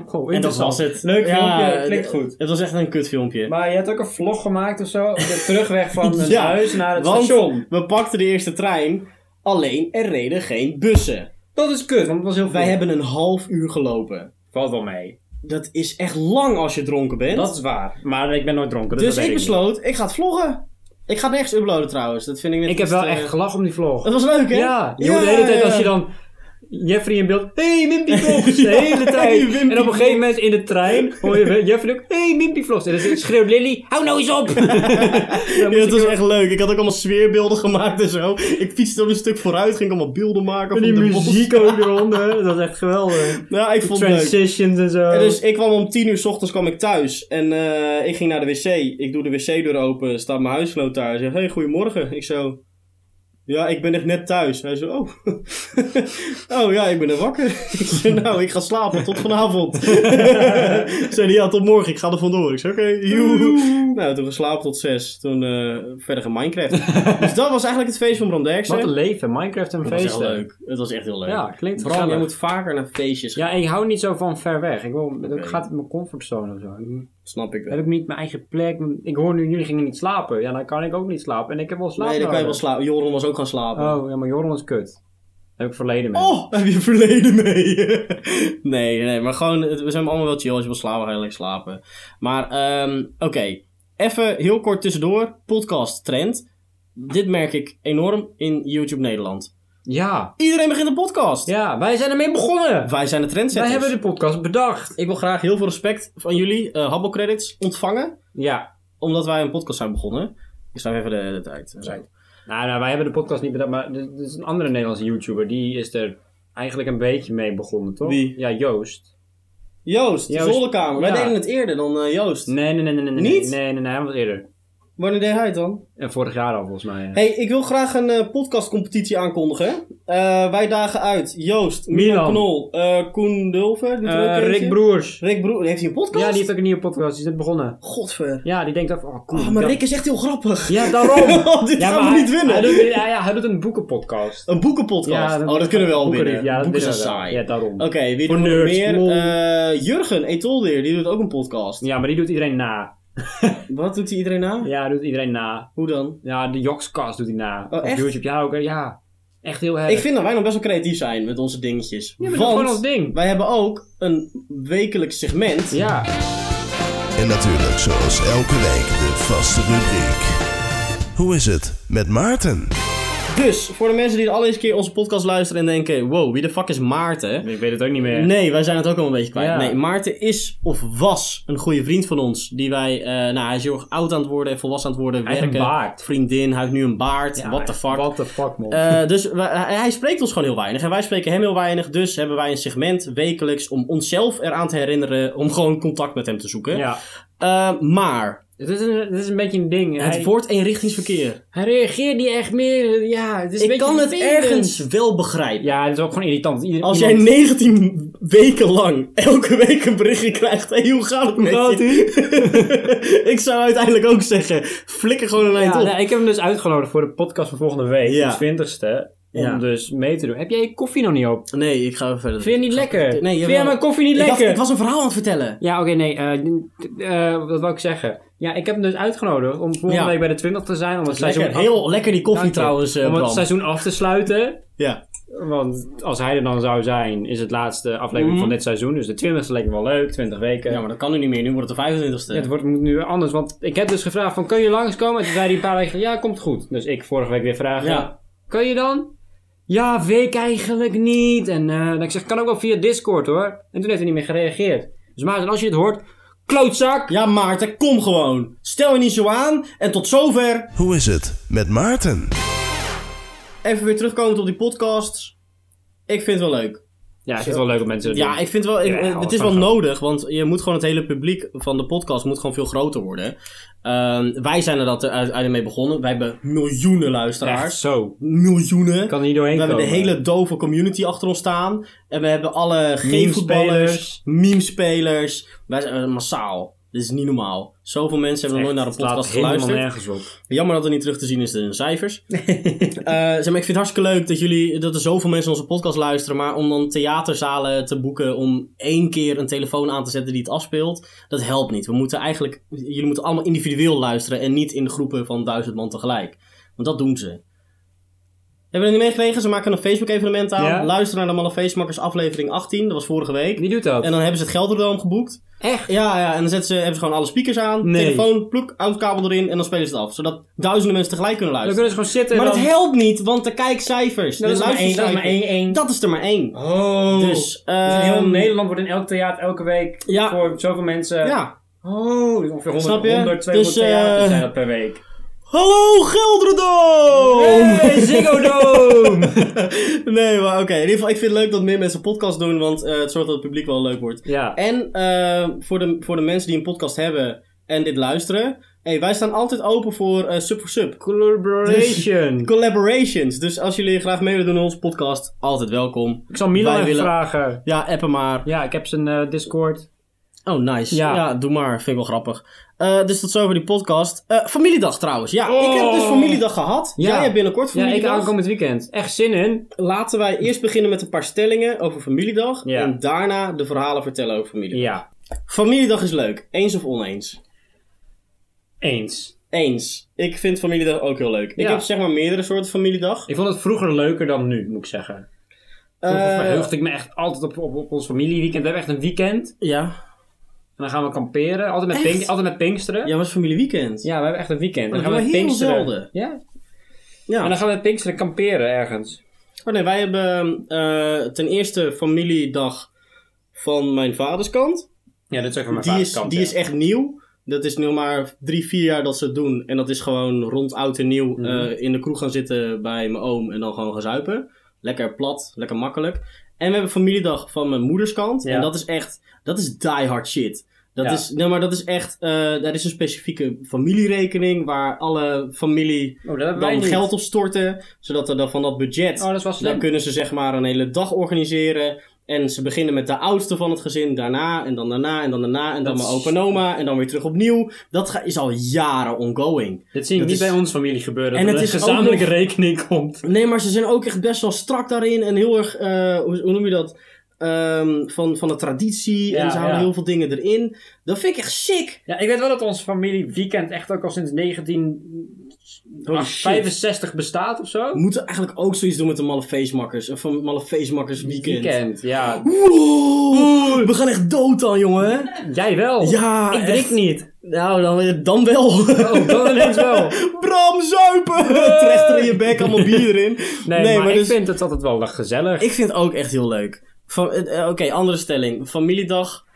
Goh, En dat was het. Leuk filmpje, het- klinkt goed. Het was echt een kut filmpje. Maar je hebt ook een vlog gemaakt of zo. Op de terugweg van het Ja, huis naar het want station. we pakten de eerste trein, alleen er reden geen bussen. Dat is kut, want het was heel Wij vroeg. hebben een half uur gelopen. Valt wel mee. Dat is echt lang als je dronken bent. Dat is waar. Maar ik ben nooit dronken, dus, dus dat ik weet ik besloot, ik ga het vloggen. Ik ga nergens uploaden trouwens. Dat vind ik net niet. Ik heb iets wel te- echt gelachen om die vlog. Dat was leuk, hè? Ja, je hoort de hele tijd als je dan Jeffrey in beeld. Hey, Mimpy Vlogs! De hele tijd. Hey, Wimpy en op een gegeven moment in de trein hoor je Jeffrey ook. Hey, Mimpy Vlogs! En dan schreeuwt Lily. Hou nou eens op! Dan Ja, moest dat ik was wel- echt leuk. Ik had ook allemaal sfeerbeelden gemaakt en zo. Ik fietste op een stuk vooruit, ging allemaal beelden maken. en van die de bos. muziek ook eronder. Dat is echt geweldig. Ja, ik vond het leuk. Transitions en zo. En dus ik kwam om tien uur 's ochtends kwam ik thuis. En eh, ik ging naar de wc. Ik doe de wc-deur open. Staat mijn huisgenoot daar. Hij zegt, hey, goedemorgen. Ik zo... Ja, ik ben echt net thuis. Hij zo, oh. oh ja, ik ben er wakker. ik zei, nou, ik ga slapen. Tot vanavond. zei hij, ja, tot morgen. Ik ga er vandoor. Ik zei, oké, joe. Nou, toen geslapen tot zes. Toen eh, verder gaan Minecraft. dus dat was eigenlijk het feest van Bram Derksen. Wat een leven. Minecraft en Het was feesten. echt leuk. Het was echt heel leuk. Ja, klinkt Bram, gezellig. jij moet vaker naar feestjes gaan. Ja, ik hou niet zo van ver weg. Ik, wil, ik ga uit mijn comfortzone of zo. Ik- Snap ik wel. heb ik niet mijn eigen plek. Ik hoor nu, jullie gingen niet slapen. Ja, dan kan ik ook niet slapen. En ik heb wel slaap Nee, dan kan je wel nodig. slapen. Joran was ook gaan slapen. Oh, ja, maar Joran is kut. Daar heb ik verleden mee. Oh, heb je verleden mee? nee, nee, maar gewoon, het- we zijn allemaal wel chill. Als je wil slapen, ga je lekker slapen. Maar, ehm, oké. Even heel kort tussendoor. Podcast trend. Dit merk ik enorm in YouTube Nederland. Ja. Iedereen begint een podcast. Ja, wij zijn ermee begonnen. Wij zijn de trendsetters. Wij hebben de podcast bedacht. Ik wil graag heel veel respect van jullie, eh Habbo Credits, ontvangen. Ja. Omdat wij een podcast zijn begonnen. Ik schrijf even de, de tijd. Zo. Nou, nou, wij hebben de podcast niet bedacht. Maar er er is een andere Nederlandse YouTuber. Die is er eigenlijk een beetje mee begonnen, toch? Wie? Ja, Joost. Joost, de Joost. zolderkamer. Wij Ja. deden het eerder dan eh, Joost. Nee, nee, nee, nee. nee, nee. Niet? Nee, nee, nee. Hij was eerder. Wanneer deed hij het dan? En vorig jaar al, volgens mij. ja. Hey, ik wil graag een eh, podcastcompetitie aankondigen. Eh, wij dagen uit Joost, Milan. Milan, Knol, eh, Koen Dulver. doet er ook Eh, eentje. Rick Broers. Rick Broer, heeft hij een podcast? Ja, die heeft ook een nieuwe podcast. Die is net begonnen. Godver. Ja, die denkt ook, oh cool. Oh, maar ja. Rick is echt heel grappig. Ja, daarom. Oh, dit ja, gaan we hij- niet winnen. Hij doet, ja, ja, hij doet een boekenpodcast. Een boekenpodcast. oh, dat kunnen we wel Boeken- winnen. Ja, dat Boeken winnen zijn we wel. saai. Ja, daarom. Oké, wie Voor doen we nog nerds, meer? lol. Eh, Jurgen Etoldeer, die doet ook een podcast. Ja, maar die doet iedereen na. Wat doet hij iedereen na? Ja, doet iedereen na. Hoe dan? Ja, de Jokscast doet hij na. Oh, Op echt? YouTube, ja, ook, ja. Echt heel Ik heftig. vind dat wij nog best wel creatief zijn met onze dingetjes. Ja, maar dat is Want gewoon ons ding. wij hebben ook een wekelijks segment. Ja. En natuurlijk, zoals elke week, de vaste rubriek. Hoe is het met Maarten? Dus, voor de mensen die de allereerste keer onze podcast luisteren en denken... Wow, wie de fuck is Maarten? Ik weet het ook niet meer. Nee, wij zijn het ook al een beetje kwijt. Ja. Nee, Maarten is of was een goede vriend van ons. Die wij, eh, nou, hij is heel erg oud aan het worden, volwassen aan het worden, Hij heeft werken. een baard. Vriendin, hij heeft nu een baard. Ja, what the fuck. What the fuck, man. Eh, dus wij- hij hij spreekt ons gewoon heel weinig en wij spreken hem heel weinig. Dus hebben wij een segment wekelijks om onszelf eraan te herinneren om gewoon contact met hem te zoeken. ja. Eh, maar Het is, een, het is een beetje een ding. het hij, wordt eenrichtingsverkeer. hij reageert niet echt meer. Ja, het is een Ik beetje kan het vervelend. ergens wel begrijpen. Ja, het is ook gewoon irritant. Ieder- Als jij iemand- 19 weken lang elke week een berichtje krijgt, hé, hoe gaat het met gaat je? ik zou uiteindelijk ook zeggen, flikker gewoon een eind Ja, op. nou, ik heb hem dus uitgenodigd voor de podcast van volgende week, Ja. de 20ste. Om Ja. dus mee te doen. Heb jij je koffie nog niet op? Nee, ik ga even verder. Vind je niet Ik ga- lekker? Nee, Vind jawel. jij mijn koffie niet Ik dacht, lekker? ik was een verhaal aan het vertellen. Ja, oké, nee. eh, eh, eh, wat wou ik zeggen? Ja, ik heb hem dus uitgenodigd om volgende Ja. week bij de 20 te zijn. Om het seizoen Lekker, heel lekker die koffie Dank je. trouwens, eh, om het Bram. seizoen af te sluiten. Ja. Want als hij er dan zou zijn, is het laatste aflevering Mhm. van dit seizoen. Dus de 20ste leek me wel leuk, 20 weken. ja, maar dat kan nu niet meer. Nu wordt het de 25ste. Het wordt, moet nu anders, want ik heb dus gevraagd van, kun je langskomen? En toen zei hij een paar weken, ja, komt goed. Dus ik vorige week weer vragen, Ja. kun je dan? Ja, weet ik eigenlijk niet. En eh, dan ik zeg, kan ook wel via Discord hoor. En toen heeft hij niet meer gereageerd. Dus Maarten, als je dit hoort, klootzak! Ja, Maarten, kom gewoon. Stel je niet zo aan. En tot zover. Hoe is het met Maarten? Even weer terugkomend op die podcasts. Ik vind het wel leuk. Ja, ik vind het wel leuk om mensen te doen. Ja, ik vind wel, ik- Ja, eh, wat het is van wel zo. nodig, want je moet gewoon het hele publiek van de podcast moet gewoon veel groter worden. Ehm, wij zijn er dat er uiteindelijk mee begonnen. Wij hebben miljoenen Echt luisteraars. zo. Miljoenen. Ik kan er niet doorheen we hebben de komen. hele dove community achter ons staan. En we hebben alle geefvoetballers, meme-spelers. Wij zijn eh, massaal. Dit is niet normaal. Zoveel mensen hebben nog nooit naar Echt, een podcast Het slaat helemaal geluisterd. nergens op. Jammer dat er niet terug te zien is in de cijfers. Eh, zeg maar, ik vind het hartstikke leuk dat, jullie, dat er zoveel mensen onze podcast luisteren. Maar om dan theaterzalen te boeken om één keer een telefoon aan te zetten die het afspeelt, dat helpt niet. We moeten eigenlijk, jullie moeten allemaal individueel luisteren en niet in groepen van duizend man tegelijk. Want dat doen ze. Hebben jullie niet meegekregen? Ze maken een Facebook-evenement aan. Ja. Luister naar de Malle Feestmakkers aflevering 18. Dat was vorige week. Wie doet dat? En dan hebben ze het Gelderdoom geboekt. Echt? Ja, ja, en dan zetten ze, hebben ze gewoon alle speakers aan, Nee. telefoon, ploek, kabel erin en dan spelen ze het af. Zodat duizenden mensen tegelijk kunnen Dan luisteren. kunnen ze gewoon zitten en maar dat dan... helpt niet, want de kijkcijfers, Dat de is maar één, dat is maar één, één. luistercijfers, dat is er maar één. Oh. Dus, Dus in ehm, heel Nederland wordt in elk theater elke week Ja. voor zoveel mensen. Ja. Oh, dus ongeveer 100, Snap je? 100 200 Dus, eh, theaters zijn dat per week. Hallo Gelderdoom! Oh, Hey, Ziggo Dome! nee, maar oké. In ieder geval, ik vind het leuk dat meer mensen podcast doen, want eh, het zorgt dat het publiek wel leuk wordt. ja. En eh, voor, de, voor de mensen die een podcast hebben en dit luisteren, hey, wij staan altijd open voor eh, sub voor sub. Collaboration. Collaborations. Dus als jullie graag mee willen doen in onze podcast, altijd welkom. ik zal Milan Wij even willen- vragen. Ja, appen maar. Ja, ik heb zijn eh, Discord. Oh, nice. Ja, Ja. doe maar. Vind ik wel grappig. Eh, dus tot zover die podcast. Eh, familiedag trouwens. Ja, Oh. ik heb dus familiedag gehad. Ja. Jij hebt binnenkort Ja, ik familiedag. aankomend weekend. Echt zin in. Laten wij eerst beginnen met een paar stellingen over familiedag. Ja. En daarna de verhalen vertellen over familiedag. Ja, Familiedag is leuk. Eens of oneens? eens. Eens. Ik vind familiedag ook heel leuk. Ik Ja. heb zeg maar meerdere soorten familiedag. Ik vond het vroeger leuker dan nu, moet ik zeggen. Vroeger Eh, verheugde ik me echt altijd op, op, op ons familieweekend. We hebben echt een weekend. ja. En dan gaan we kamperen. Altijd met, Echt? pink, altijd met Pinksteren. Ja. Ja, was familieweekend. we hebben echt een weekend. Dat dan gaan we doen met we heel Pinksteren. zelden. Nou. Ja. Ja. En dan gaan we met Pinksteren kamperen ergens. Oh nee, wij hebben eh, ten eerste familiedag van mijn vaders kant. Ja, dat is ook van mijn die is, vaders kant, die ja. is echt nieuw. Dat is nu maar drie, vier jaar dat ze het doen. En dat is gewoon rond oud en nieuw Mhm. eh, in de kroeg gaan zitten bij mijn oom en dan gewoon gaan zuipen. Lekker plat, lekker makkelijk. En we hebben familiedag van mijn moeders kant. Ja. En dat is echt, dat is die hard shit. Dat Ja. is, nee, maar dat is echt, eh daar is een specifieke familierekening waar alle familie Oh, dat hebben wij dan niet. geld op storten. Zodat er dan van dat budget Oh, dat is wel slim. dan kunnen ze zeg maar een hele dag organiseren. En ze beginnen met de oudste van het gezin, daarna en dan daarna en dan daarna en dan Dat mijn is- opa en oma en dan weer terug opnieuw. Dat ga- is al jaren ongoing. Dit zie ik Dat niet is- bij onze familie gebeuren. Dat En er het een is ook gezamenlijke nog- rekening komt. Nee, maar ze zijn ook echt best wel strak daarin en heel erg, eh, hoe, hoe noem je dat, Ehm, van, van de traditie en Ja, ze houden ja. heel veel dingen erin. Dat vind ik echt sick. Ja, ik weet wel dat onze familie weekend echt ook al sinds 1965 bestaat of zo. We moeten eigenlijk ook zoiets doen met de Malle Feestmakkers. Een van Malle Feestmakkers weekend. Weekend, ja. Oeh, we gaan echt dood dan, jongen. Jij wel. Ja, Oh, Ik drink echt. niet. Nou, dan, dan wel. Oh, dan ineens wel. Bram, zuipen! Trechter in je bek, allemaal bier erin. Nee, maar, ik dus- vind het altijd wel gezellig. ik vind het ook echt heel leuk. Van- eh, eh, Oké, andere stelling. Familiedag.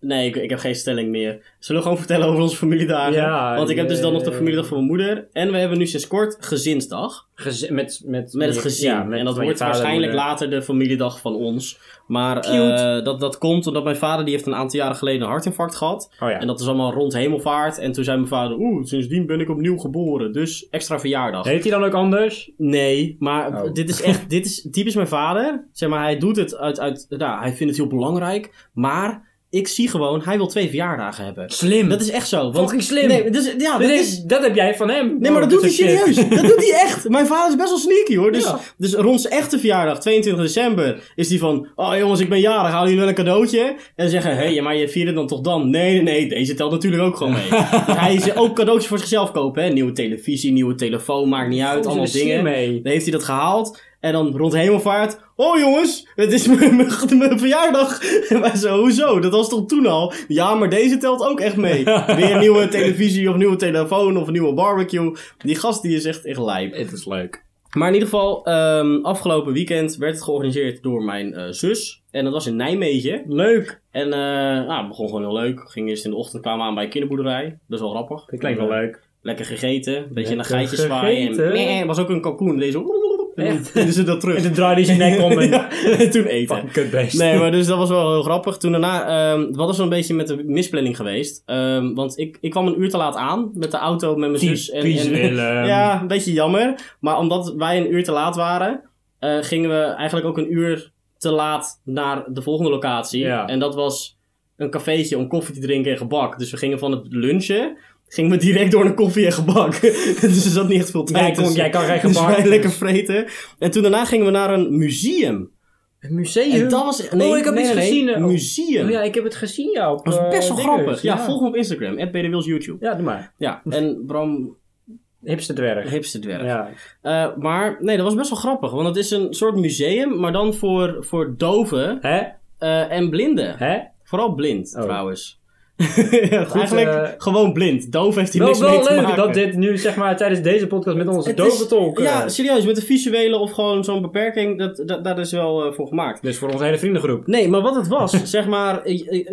Nee, ik, ik heb geen stelling meer. Zullen we gewoon vertellen over onze familiedagen? Ja, Want ik heb dus dan nog de eh. familiedag van mijn moeder. En we hebben nu sinds kort gezinsdag. Gez- met, met, Met het gezin. ja, met en dat mijn wordt vader en waarschijnlijk moeder. later de familiedag van ons. Maar Cute. eh, dat, dat komt omdat mijn vader die heeft een aantal jaren geleden een hartinfarct gehad. Oh ja. En dat is allemaal rond hemelvaart. En toen zei mijn vader, oeh, sindsdien ben ik opnieuw geboren. Dus extra verjaardag. Heet hij dan ook anders? Nee, maar Oh. dit is echt, dit is typisch mijn vader. Zeg maar, hij doet het uit, uit nou, hij vindt het heel belangrijk. Maar ik zie gewoon, hij wil twee verjaardagen hebben. Slim. Dat is echt zo. Want, Fucking slim. Nee, dat is, ja, Dus dat ik- is... dat heb jij van hem. Nee, maar dat doet Oh, hij is shit. serieus. Dat doet hij echt. Mijn vader is best wel sneaky hoor. Dus, Ja. dus rond zijn echte verjaardag, 22 december, is hij van... Oh jongens, ik ben jarig, halen jullie wel een cadeautje? En zeggen, hé, hey, maar je viert het dan toch dan? Nee, nee, nee, deze telt natuurlijk ook gewoon mee. Dus hij is ook cadeautjes voor zichzelf kopen. Hè? Nieuwe televisie, nieuwe telefoon, maakt niet uit, Daar allemaal is hij dingen. mee. Dan heeft hij dat gehaald. En dan rond hemelvaart. Oh jongens, het is mijn, mijn- mijn verjaardag. En wij zo, hoezo? Dat was toch toen al? Ja, maar deze telt ook echt mee. Weer een nieuwe televisie of nieuwe telefoon of een nieuwe barbecue. Die gast die is echt, echt lijp. Het is leuk. Maar in ieder geval, ehm, afgelopen weekend werd het georganiseerd door mijn eh, zus. En dat was in Nijmegen. Leuk. En eh nou, het begon gewoon heel leuk. Ging eerst in de ochtend, kwamen we aan bij een kinderboerderij. Dat is wel grappig. eh, Dat klinkt wel leuk. Lekker gegeten, een beetje naar Lekker geitjes zwaaien. En, gegeten. meh, was ook een kalkoen. Deze. En Echt? dan ze dat terug. En toen draaide hij zijn nek om en Ja, en toen eten. fucking kutbeest. Nee, maar dus dat was wel heel grappig. Toen daarna, ehm wat is zo'n beetje met de misplanning geweest? Ehm, want ik, ik kwam een uur te laat aan met de auto met mijn zus. En, Typisch en- Willem. ja, een beetje jammer. Maar omdat wij een uur te laat waren, eh, gingen we eigenlijk ook een uur te laat naar de volgende locatie. Ja. En dat was een cafeetje om koffie te drinken en gebak. Dus we gingen van het lunchen, gingen we direct door naar koffie en gebak. dus er zat niet echt veel tijd Jij kon- tussen. jij kan geen Dus gebak. wij lekker vreten. En toen daarna gingen we naar een museum. Een museum? En dat was... Nee, oh, ik heb nee, iets nee, nee, gezien. eh, Een oh. museum. Oh ja, ik heb het gezien, ja. Op, Dat was eh, best wel dinges, grappig. Ja, volg me op Instagram. At Wils YouTube. Ja, doe maar. Ja. En Bram Hipster dwerg. Hipsterdwerg. Ja. Eh, maar nee, dat was best wel grappig. Want het is een soort museum, maar dan voor, voor doven Hè? eh, en blinden. Hè? Vooral blind, Oh. trouwens. Eigenlijk eh, gewoon blind. Doof heeft hier Wel, niks mee wel te leuk maken. dat dit eh. nu, zeg maar, tijdens deze podcast met onze Het is- dove tolken. Ja, serieus. Met een visuele of gewoon zo'n beperking, dat, dat, daar is wel eh, voor gemaakt. Dus voor onze hele vriendengroep. Nee, maar wat het was, zeg maar, ik, ik,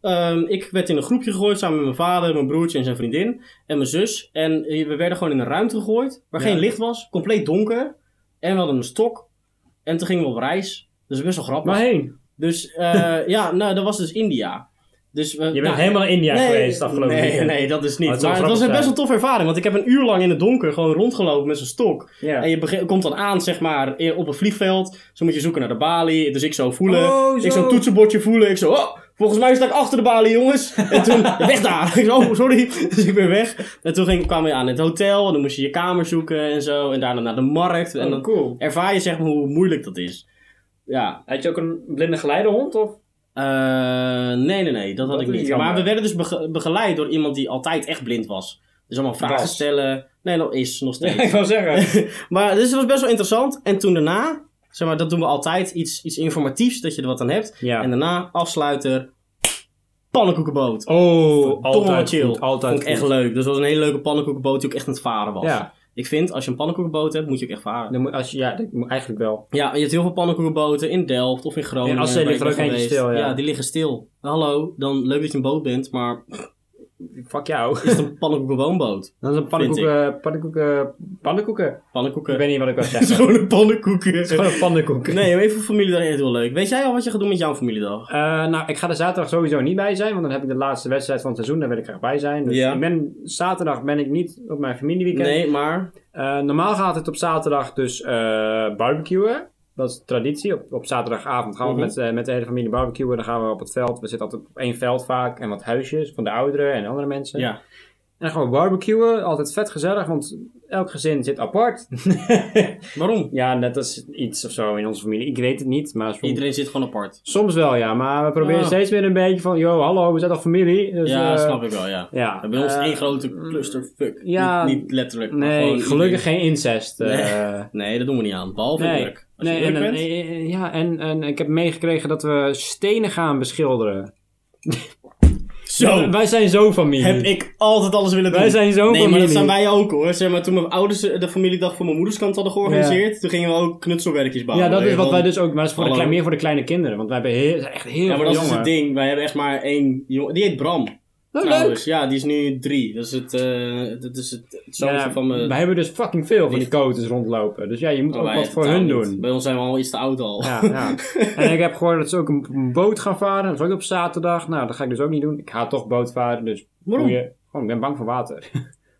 ehm, ik werd in een groepje gegooid samen met mijn vader, mijn broertje en zijn vriendin en mijn zus. En eh, we werden gewoon in een ruimte gegooid waar Ja. geen licht was, compleet donker. En we hadden een stok. En toen gingen we op reis. Dus best wel grappig. Waarheen? Dus eh, ja, nou, dat was dus India. Dus we, Je bent nou, helemaal in India geweest afgelopen nee, weekend. Nee, dat is Oh, niet. het zou maar het was grappig een best zijn. wel toffe ervaring, want ik heb een uur lang in het donker gewoon rondgelopen met zo'n stok. Ja. En je bege- komt dan aan, zeg maar, in- op een vliegveld. Zo moet je zoeken naar de balie. Dus ik zo voelen. Oh, zo. Ik zo toetsenbordje voelen. Ik zo, oh, volgens mij sta ik achter de balie, jongens. En toen, weg daar. Ik zo, oh, sorry. Dus ik ben weg. En toen ging, kwam je aan het hotel. En dan moest je je kamer zoeken en zo. En daarna naar de markt. En Oh, dan cool. ervaar je, zeg maar, hoe moeilijk dat is. Ja. Had je ook een blinde geleidehond? Of? Eh, nee, nee, nee, dat had Dat ik is niet. jammer. Maar we werden dus bege- begeleid door iemand die altijd echt blind was. Dus allemaal vragen Was. stellen. Nee, dat is nog steeds. ik wou zeggen. maar dus het was best wel interessant. En toen daarna, zeg maar, dat doen we altijd iets, iets informatiefs, dat je er wat aan hebt. Ja. En daarna afsluiter, pannenkoekenboot. Oh, Domme altijd chill. goed, altijd Vond ik echt goed. leuk. Dus het was een hele leuke pannenkoekenboot die ook echt aan het varen was. Ja. Ik vind, als je een pannenkoekenboot hebt, moet je ook echt varen. Dan moet, als je, ja, dat moet eigenlijk wel. Ja, je hebt heel veel pannenkoekenboten in Delft of in Groningen. In Assen waar ik ligt ben er ook eentje geweest. stil, ja. die liggen stil. Hallo, dan leuk dat je een boot bent, maar Fuck jou. is het een pannenkoekenwoonboot? Dat is een pannenkoeken, pannenkoeken, pannenkoeken. Ik Pannenkoeken. weet niet wat ik wil Het is zeggen. gewoon een pannenkoeken. Gewoon een pannenkoek. Nee, maar even familiedag echt heel leuk. Weet jij al wat je gaat doen met jouw familiedag? Eh, nou, ik ga er zaterdag sowieso niet bij zijn, want dan heb ik de laatste wedstrijd van het seizoen, daar wil ik graag bij zijn. Dus Ja. ik ben, zaterdag ben ik niet op mijn familieweekend. Nee, maar... Eh, normaal gaat het op zaterdag dus eh, barbecuen. Dat is traditie. Op, op zaterdagavond gaan we Mhm. met, eh, met de hele familie barbecuen. Dan gaan we op het veld. We zitten altijd op één veld vaak en wat huisjes van de ouderen en andere mensen. Ja. En dan gaan we barbecuen. Altijd vet gezellig, want elk gezin zit apart. Waarom? ja, net als iets of zo in onze familie. Ik weet het niet, maar soms, Iedereen zit gewoon apart. soms wel ja. Maar we proberen Ah. steeds meer een beetje van, yo, hallo, we zijn toch familie? Dus, ja, eh, snap ik wel, ja. Ja, Bij ons Eh, één grote clusterfuck. ja. niet, niet letterlijk, maar Nee, gewoon gelukkig iedereen- geen incest. Nee. eh. Nee, dat doen we niet aan. Behalve druk. Als nee je druk en, bent... en- en- ja, en, en ik heb meegekregen dat we stenen gaan beschilderen. Zo! Wij zijn zo familie. Heb ik altijd alles willen doen. Wij zijn Nee, zo'n maar dat familie. zijn wij ook hoor. Zeg maar, toen mijn ouders eh, de familiedag voor mijn moeders kant hadden georganiseerd, toen gingen we ook knutselwerkjes bouwen. ja, dat is wat Want- wij dus ook, maar dat is voor de Oh, Hallo. klein- meer voor de kleine kinderen. Want wij hebben heel, zijn echt heel Ja, maar veel dat is jongen. het ding. Wij hebben echt maar één jongen. Die heet Bram. Oh, trouwens. Ja, die is nu drie. Dat is het, eh, dat is het, het zoontje Ja, van mijn... wij hebben dus fucking veel van die nicht. coaches rondlopen. Dus ja, je moet Oh, ook wij wat voor totaal hun niet. doen. Bij ons zijn we al iets te oud al. Ja, ja. En ik heb gehoord dat ze ook een, een boot gaan varen. Dat is ook op zaterdag. Nou, dat ga ik dus ook niet doen. Ik ga toch boot varen, dus... Waarom? boeien. Gewoon, ik ben bang voor water.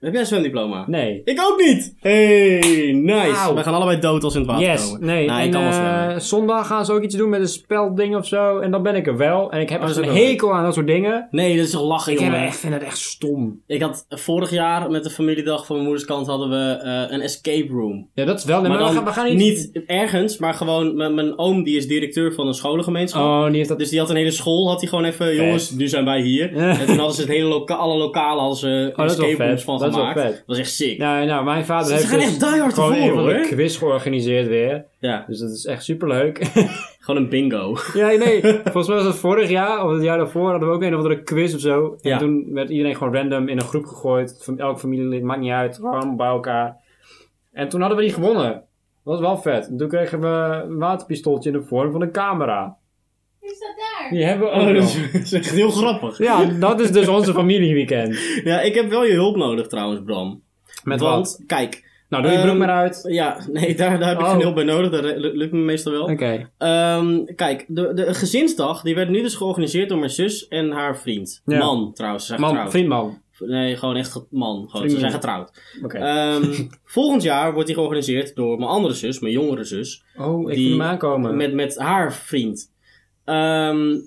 Heb jij een zwemdiploma? Nee. Ik ook niet! Hey, nice! Auw. We gaan allebei dood als we in het water Yes, komen. nee. Nou, ik en, kan wel eh, zwemmen. zondag gaan ze ook iets doen met een spelding of zo. En dan ben ik er wel. En ik heb Oh, echt dat een is ook wel hekel aan dat soort dingen. Nee, dat is toch lachen, Ik heb jongen. echt, vind het echt stom. Ik had vorig jaar met de familiedag van mijn moeders kant hadden we eh, een escape room. Ja, dat is wel. nee, maar maar we dan gaan, we gaan niet... niet... ergens, maar gewoon mijn, mijn oom die is directeur van een scholengemeenschap. Oh, die heeft dat... Dus die had een hele school, had hij gewoon even, jongens, nu zijn wij hier. Ja. Oh, En toen hadden ze het hele loka alle lokalen als ze dat is wel escape rooms vet. van Dat is wel gemaakt. vet. Dat was echt sick. Ja. nou, nou, mijn vader Ze heeft gaan dus echt diehard gewoon ervoor, een van de hoor. quiz georganiseerd weer. Dus dat is echt superleuk. gewoon een bingo. ja, nee. Volgens mij was dat vorig jaar of het jaar daarvoor hadden we ook een of andere quiz of zo. En Ja. toen werd iedereen gewoon random in een groep gegooid. Van elk familielid, maakt niet uit. Gewoon bij elkaar. En toen hadden we die gewonnen. Dat was wel vet. En toen kregen we een waterpistooltje in de vorm van een camera. Is dat daar? Die hebben we ook Oh, nog. dat is- dat is echt heel grappig. Ja, dat is dus onze familieweekend. Ja, ik heb wel je hulp nodig trouwens, Bram. Met Want, kijk, Nou, doe je broek Ehm, maar uit. Oké. Ja, nee, daar, daar heb ik Oh. geen hulp bij nodig. Dat re- lukt me meestal wel. Ehm, kijk, de, de gezinsdag die werd nu dus georganiseerd door mijn zus en haar vriend. Ja. Man trouwens, ze zijn Man, getrouwd. vriendman. Nee, gewoon echt ge- man. Gewoon, ze Vriendin. zijn getrouwd. Oké. Ehm, volgend jaar wordt die georganiseerd door mijn andere zus, mijn jongere zus. oh, ik die- voel hem aankomen. Met, met haar vriend. Ehm,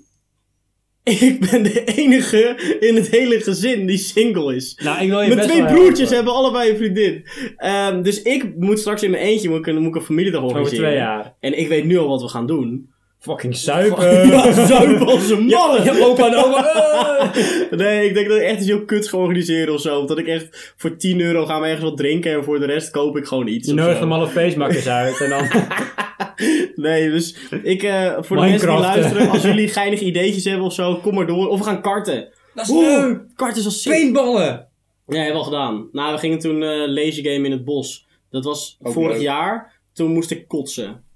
ik ben de enige in het hele gezin die single is. nou, ik wil je Mijn best twee wel broertjes helpen. hebben allebei een vriendin. Ehm, dus ik moet straks in mijn eentje moet ik een, moet ik een familiedag Over organiseren. twee jaar. En ik weet nu al wat we gaan doen. Fucking zuipen. Ja, zuipen als een malle. Ja, opa en oma. eh. Nee, ik denk dat ik echt iets heel kuts ga organiseren of zo. Dat ik echt voor 10 euro gaan we ergens wat drinken en voor de rest koop ik gewoon iets. Je of nodigt zo. hem alle feestmakkers uit. En dan... Nee, dus ik, eh, voor de mensen die Minecraft, hè. luisteren, als jullie geinig ideetjes hebben of zo, kom maar door. Of we gaan karten. Dat Oeh, karten is al sick. Paintballen. Nee, hebben we al gedaan. Nou, we gingen toen eh lazy game in het bos. Dat was Ook vorig leuk. jaar. Toen moest ik kotsen.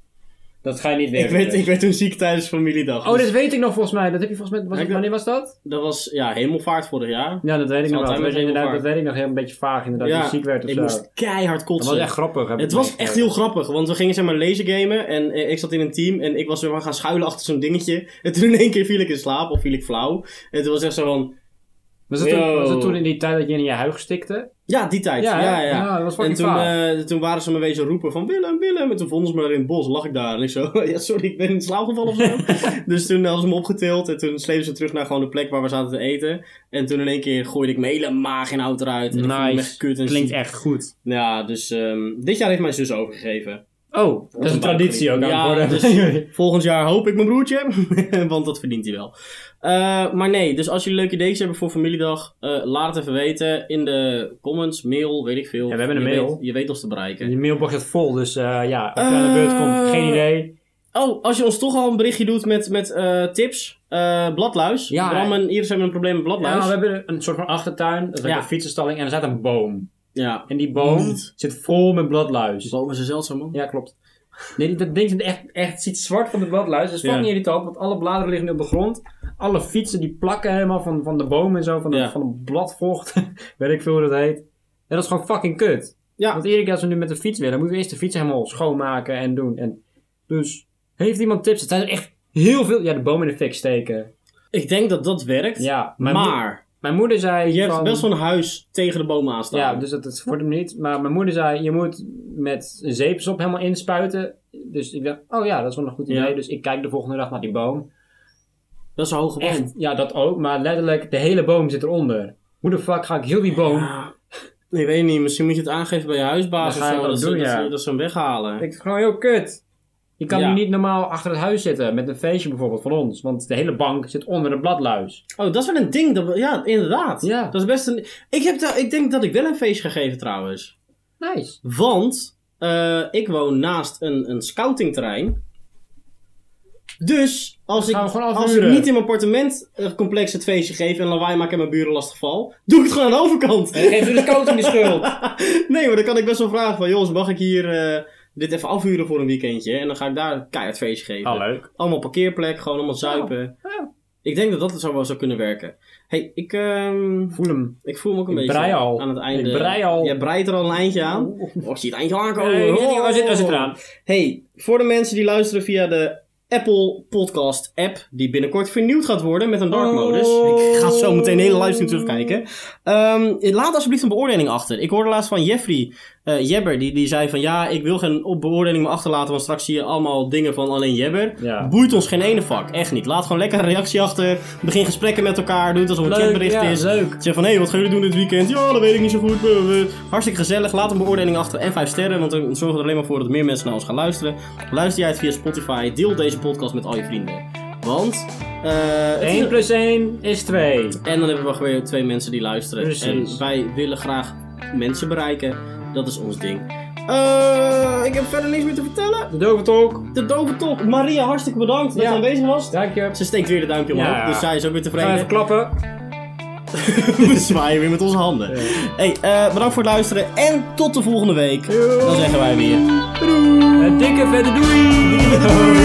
Dat ga je niet weer Ik werd, ik werd toen ziek tijdens familiedag. Oh, Dus dat weet ik nog volgens mij. Dat heb je volgens mij... was Ja, het- ik- wanneer was dat? Dat was ja, hemelvaart vorig jaar. Ja, dat weet ik Zal het nog wel. Dat weet, eigenlijk ik inderdaad, heel dat weet ik nog heel een beetje vaag inderdaad. ja, dat je ziek werd of ik zo. moest keihard Dat kotsen. was echt grappig. heb ik Het was meegekregen. echt heel grappig, want we gingen zeg maar laser gamen en eh, ik zat in een team en ik was weer maar gaan schuilen achter zo'n dingetje. En toen in één keer viel ik in slaap of viel ik flauw. En toen was echt zo van, Was dat, toen, Yo. was dat toen in die tijd dat je in je huig stikte? ja, die tijd. Ja, ja, ja. dat was en fucking toen, vaag. eh, toen waren ze me wezen roepen van Willem, Willem. En toen vonden ze me daar in het bos, lag ik daar. En ik zo, ja sorry, ik ben in slaap gevallen of zo. dus toen hadden ze me opgetild en toen sleepten ze terug naar gewoon de plek waar we zaten te eten. En toen in één keer gooide ik mijn hele maag en hout eruit. En ik voelde me echt kut en Klinkt ziek. echt goed. Ja, dus ehm, dit jaar heeft mijn zus overgegeven. Oh, dat is een een traditie ook aan Ja, het worden. dus- Volgend jaar hoop ik mijn broertje, want dat verdient hij wel. Eh, maar nee, dus als jullie leuke ideeën hebben voor familiedag, eh, laat het even weten in de comments, mail, weet ik veel. Ja, we hebben een je mail. Weet, je weet ons te bereiken. Die mailbox is vol, dus eh, ja, of je aan de beurt komt, Eh, geen idee. Oh, als je ons toch al een berichtje doet met, met eh, tips, eh, bladluis. Ja. Bram en Iris hebben een probleem met Ja, bladluis. we Ja, hebben een soort van achtertuin, dat is like Ja. een fietsenstalling, en er staat een boom. En die boom zit vol met bladluis. bomen zijn zeldzaam man. Ja, klopt. Nee, dat ding zit echt, echt ziet zwart van de bladluis. Dat is fucking Ja. irritant, want alle bladeren liggen nu op de grond. Alle fietsen die plakken helemaal van, van de boom en zo, van, de, Ja. van het bladvocht. Weet ik veel hoe dat heet. En dat is gewoon fucking kut. Ja. Want iedere keer als we nu met de fiets willen, moeten we eerst de fiets helemaal schoonmaken en doen. En dus, heeft iemand tips? Het zijn er echt heel veel... Ja, de boom in de fik steken. Ik denk dat dat werkt, Ja, maar, mijn, moe- mijn moeder zei je hebt van- best wel een huis tegen de bomen aanstaan. ja, dus dat, dat wordt hem niet. Maar mijn moeder zei, je moet met een zeepsop helemaal inspuiten. Dus ik dacht, oh ja, dat is wel een goed idee. Ja. Dus ik kijk de volgende dag naar die boom. Dat is een hoge boom. Echt, ja, dat ook. Maar letterlijk, de hele boom zit eronder. Hoe de fuck ga ik heel die boom... Ah. Ik weet niet, misschien moet je het aangeven bij je huisbaas Dan of ga zo. je dat Dat, ze- doen, dat, ja. ze- dat ze hem weghalen. Ik vind het gewoon heel kut. Je kan Ja. nu niet normaal achter het huis zitten met een feestje bijvoorbeeld van ons. Want de hele bank zit onder de bladluis. Oh, dat is wel een ding. Dat, we- ja, inderdaad. Ja. Dat is best een... Ik, heb daar- ik denk dat ik wel een feestje ga geven trouwens. Nice. Want eh, ik woon naast een, een scoutingterrein. Dus als ik, gaan we gewoon als ik afhuren. niet in mijn appartementcomplex het feestje geef en lawaai maak en mijn buren lastig val, doe ik het gewoon aan de overkant. Geef ze de scouting de schuld. nee, maar dan kan ik best wel vragen van, jongens, mag ik hier eh, dit even afhuren voor een weekendje? En dan ga ik daar een keihard feestje geven. Ah, leuk. Allemaal parkeerplek, gewoon allemaal zuipen. Ja. Ik denk dat dat zo wel zou kunnen werken. hey, ik, ehm, Voel hem. ik voel me ook een Ik beetje brei al. aan het Ik einde. brei al. Jij breidt er al een eindje aan. Oh, ik zie het eindje al aankomen. Oh. Nee, zit- waar zit- waar zit het eraan? hey, voor de mensen die luisteren via de Apple Podcast app, die binnenkort vernieuwd gaat worden met een dark Oh. modus. Ik ga zo meteen de hele livestream terugkijken. Ehm, laat alsjeblieft een beoordeling achter. Ik hoorde laatst van Jeffrey eh, Jebber, die, die zei van ja, ik wil geen op- beoordeling meer achterlaten, want straks zie je allemaal dingen van alleen Jebber. Ja. Boeit ons geen ene vak, echt niet. Laat gewoon lekker een reactie achter, begin gesprekken met elkaar, doe het alsof het een Leuk, chatbericht ja, is. leuk. Zeg van hé, hey, wat gaan jullie doen dit weekend? Ja, dat weet ik niet zo goed. Eh, eh. Hartstikke gezellig, laat een beoordeling achter en 5 sterren, want dan zorgen we er alleen maar voor dat meer mensen naar ons gaan luisteren. Luister jij het via Spotify, deel deze podcast met al je vrienden. Want, eh, het is- 1 plus 1 is 2. en dan hebben we weer twee mensen die luisteren. Precies. En wij willen graag mensen bereiken. Dat is ons ding. Eh, ik heb verder niks meer te vertellen. De dove talk. De dove top. Maria, hartstikke bedankt dat Ja. je aanwezig was. Dank je. Ze steekt weer de duimpje omhoog. Ja. Dus zij is ook weer Ga tevreden. even klappen. We zwaaien weer met onze handen. Hey, eh, bedankt voor het luisteren. En tot de volgende week. Dan zeggen wij weer. Een dikke vette doei!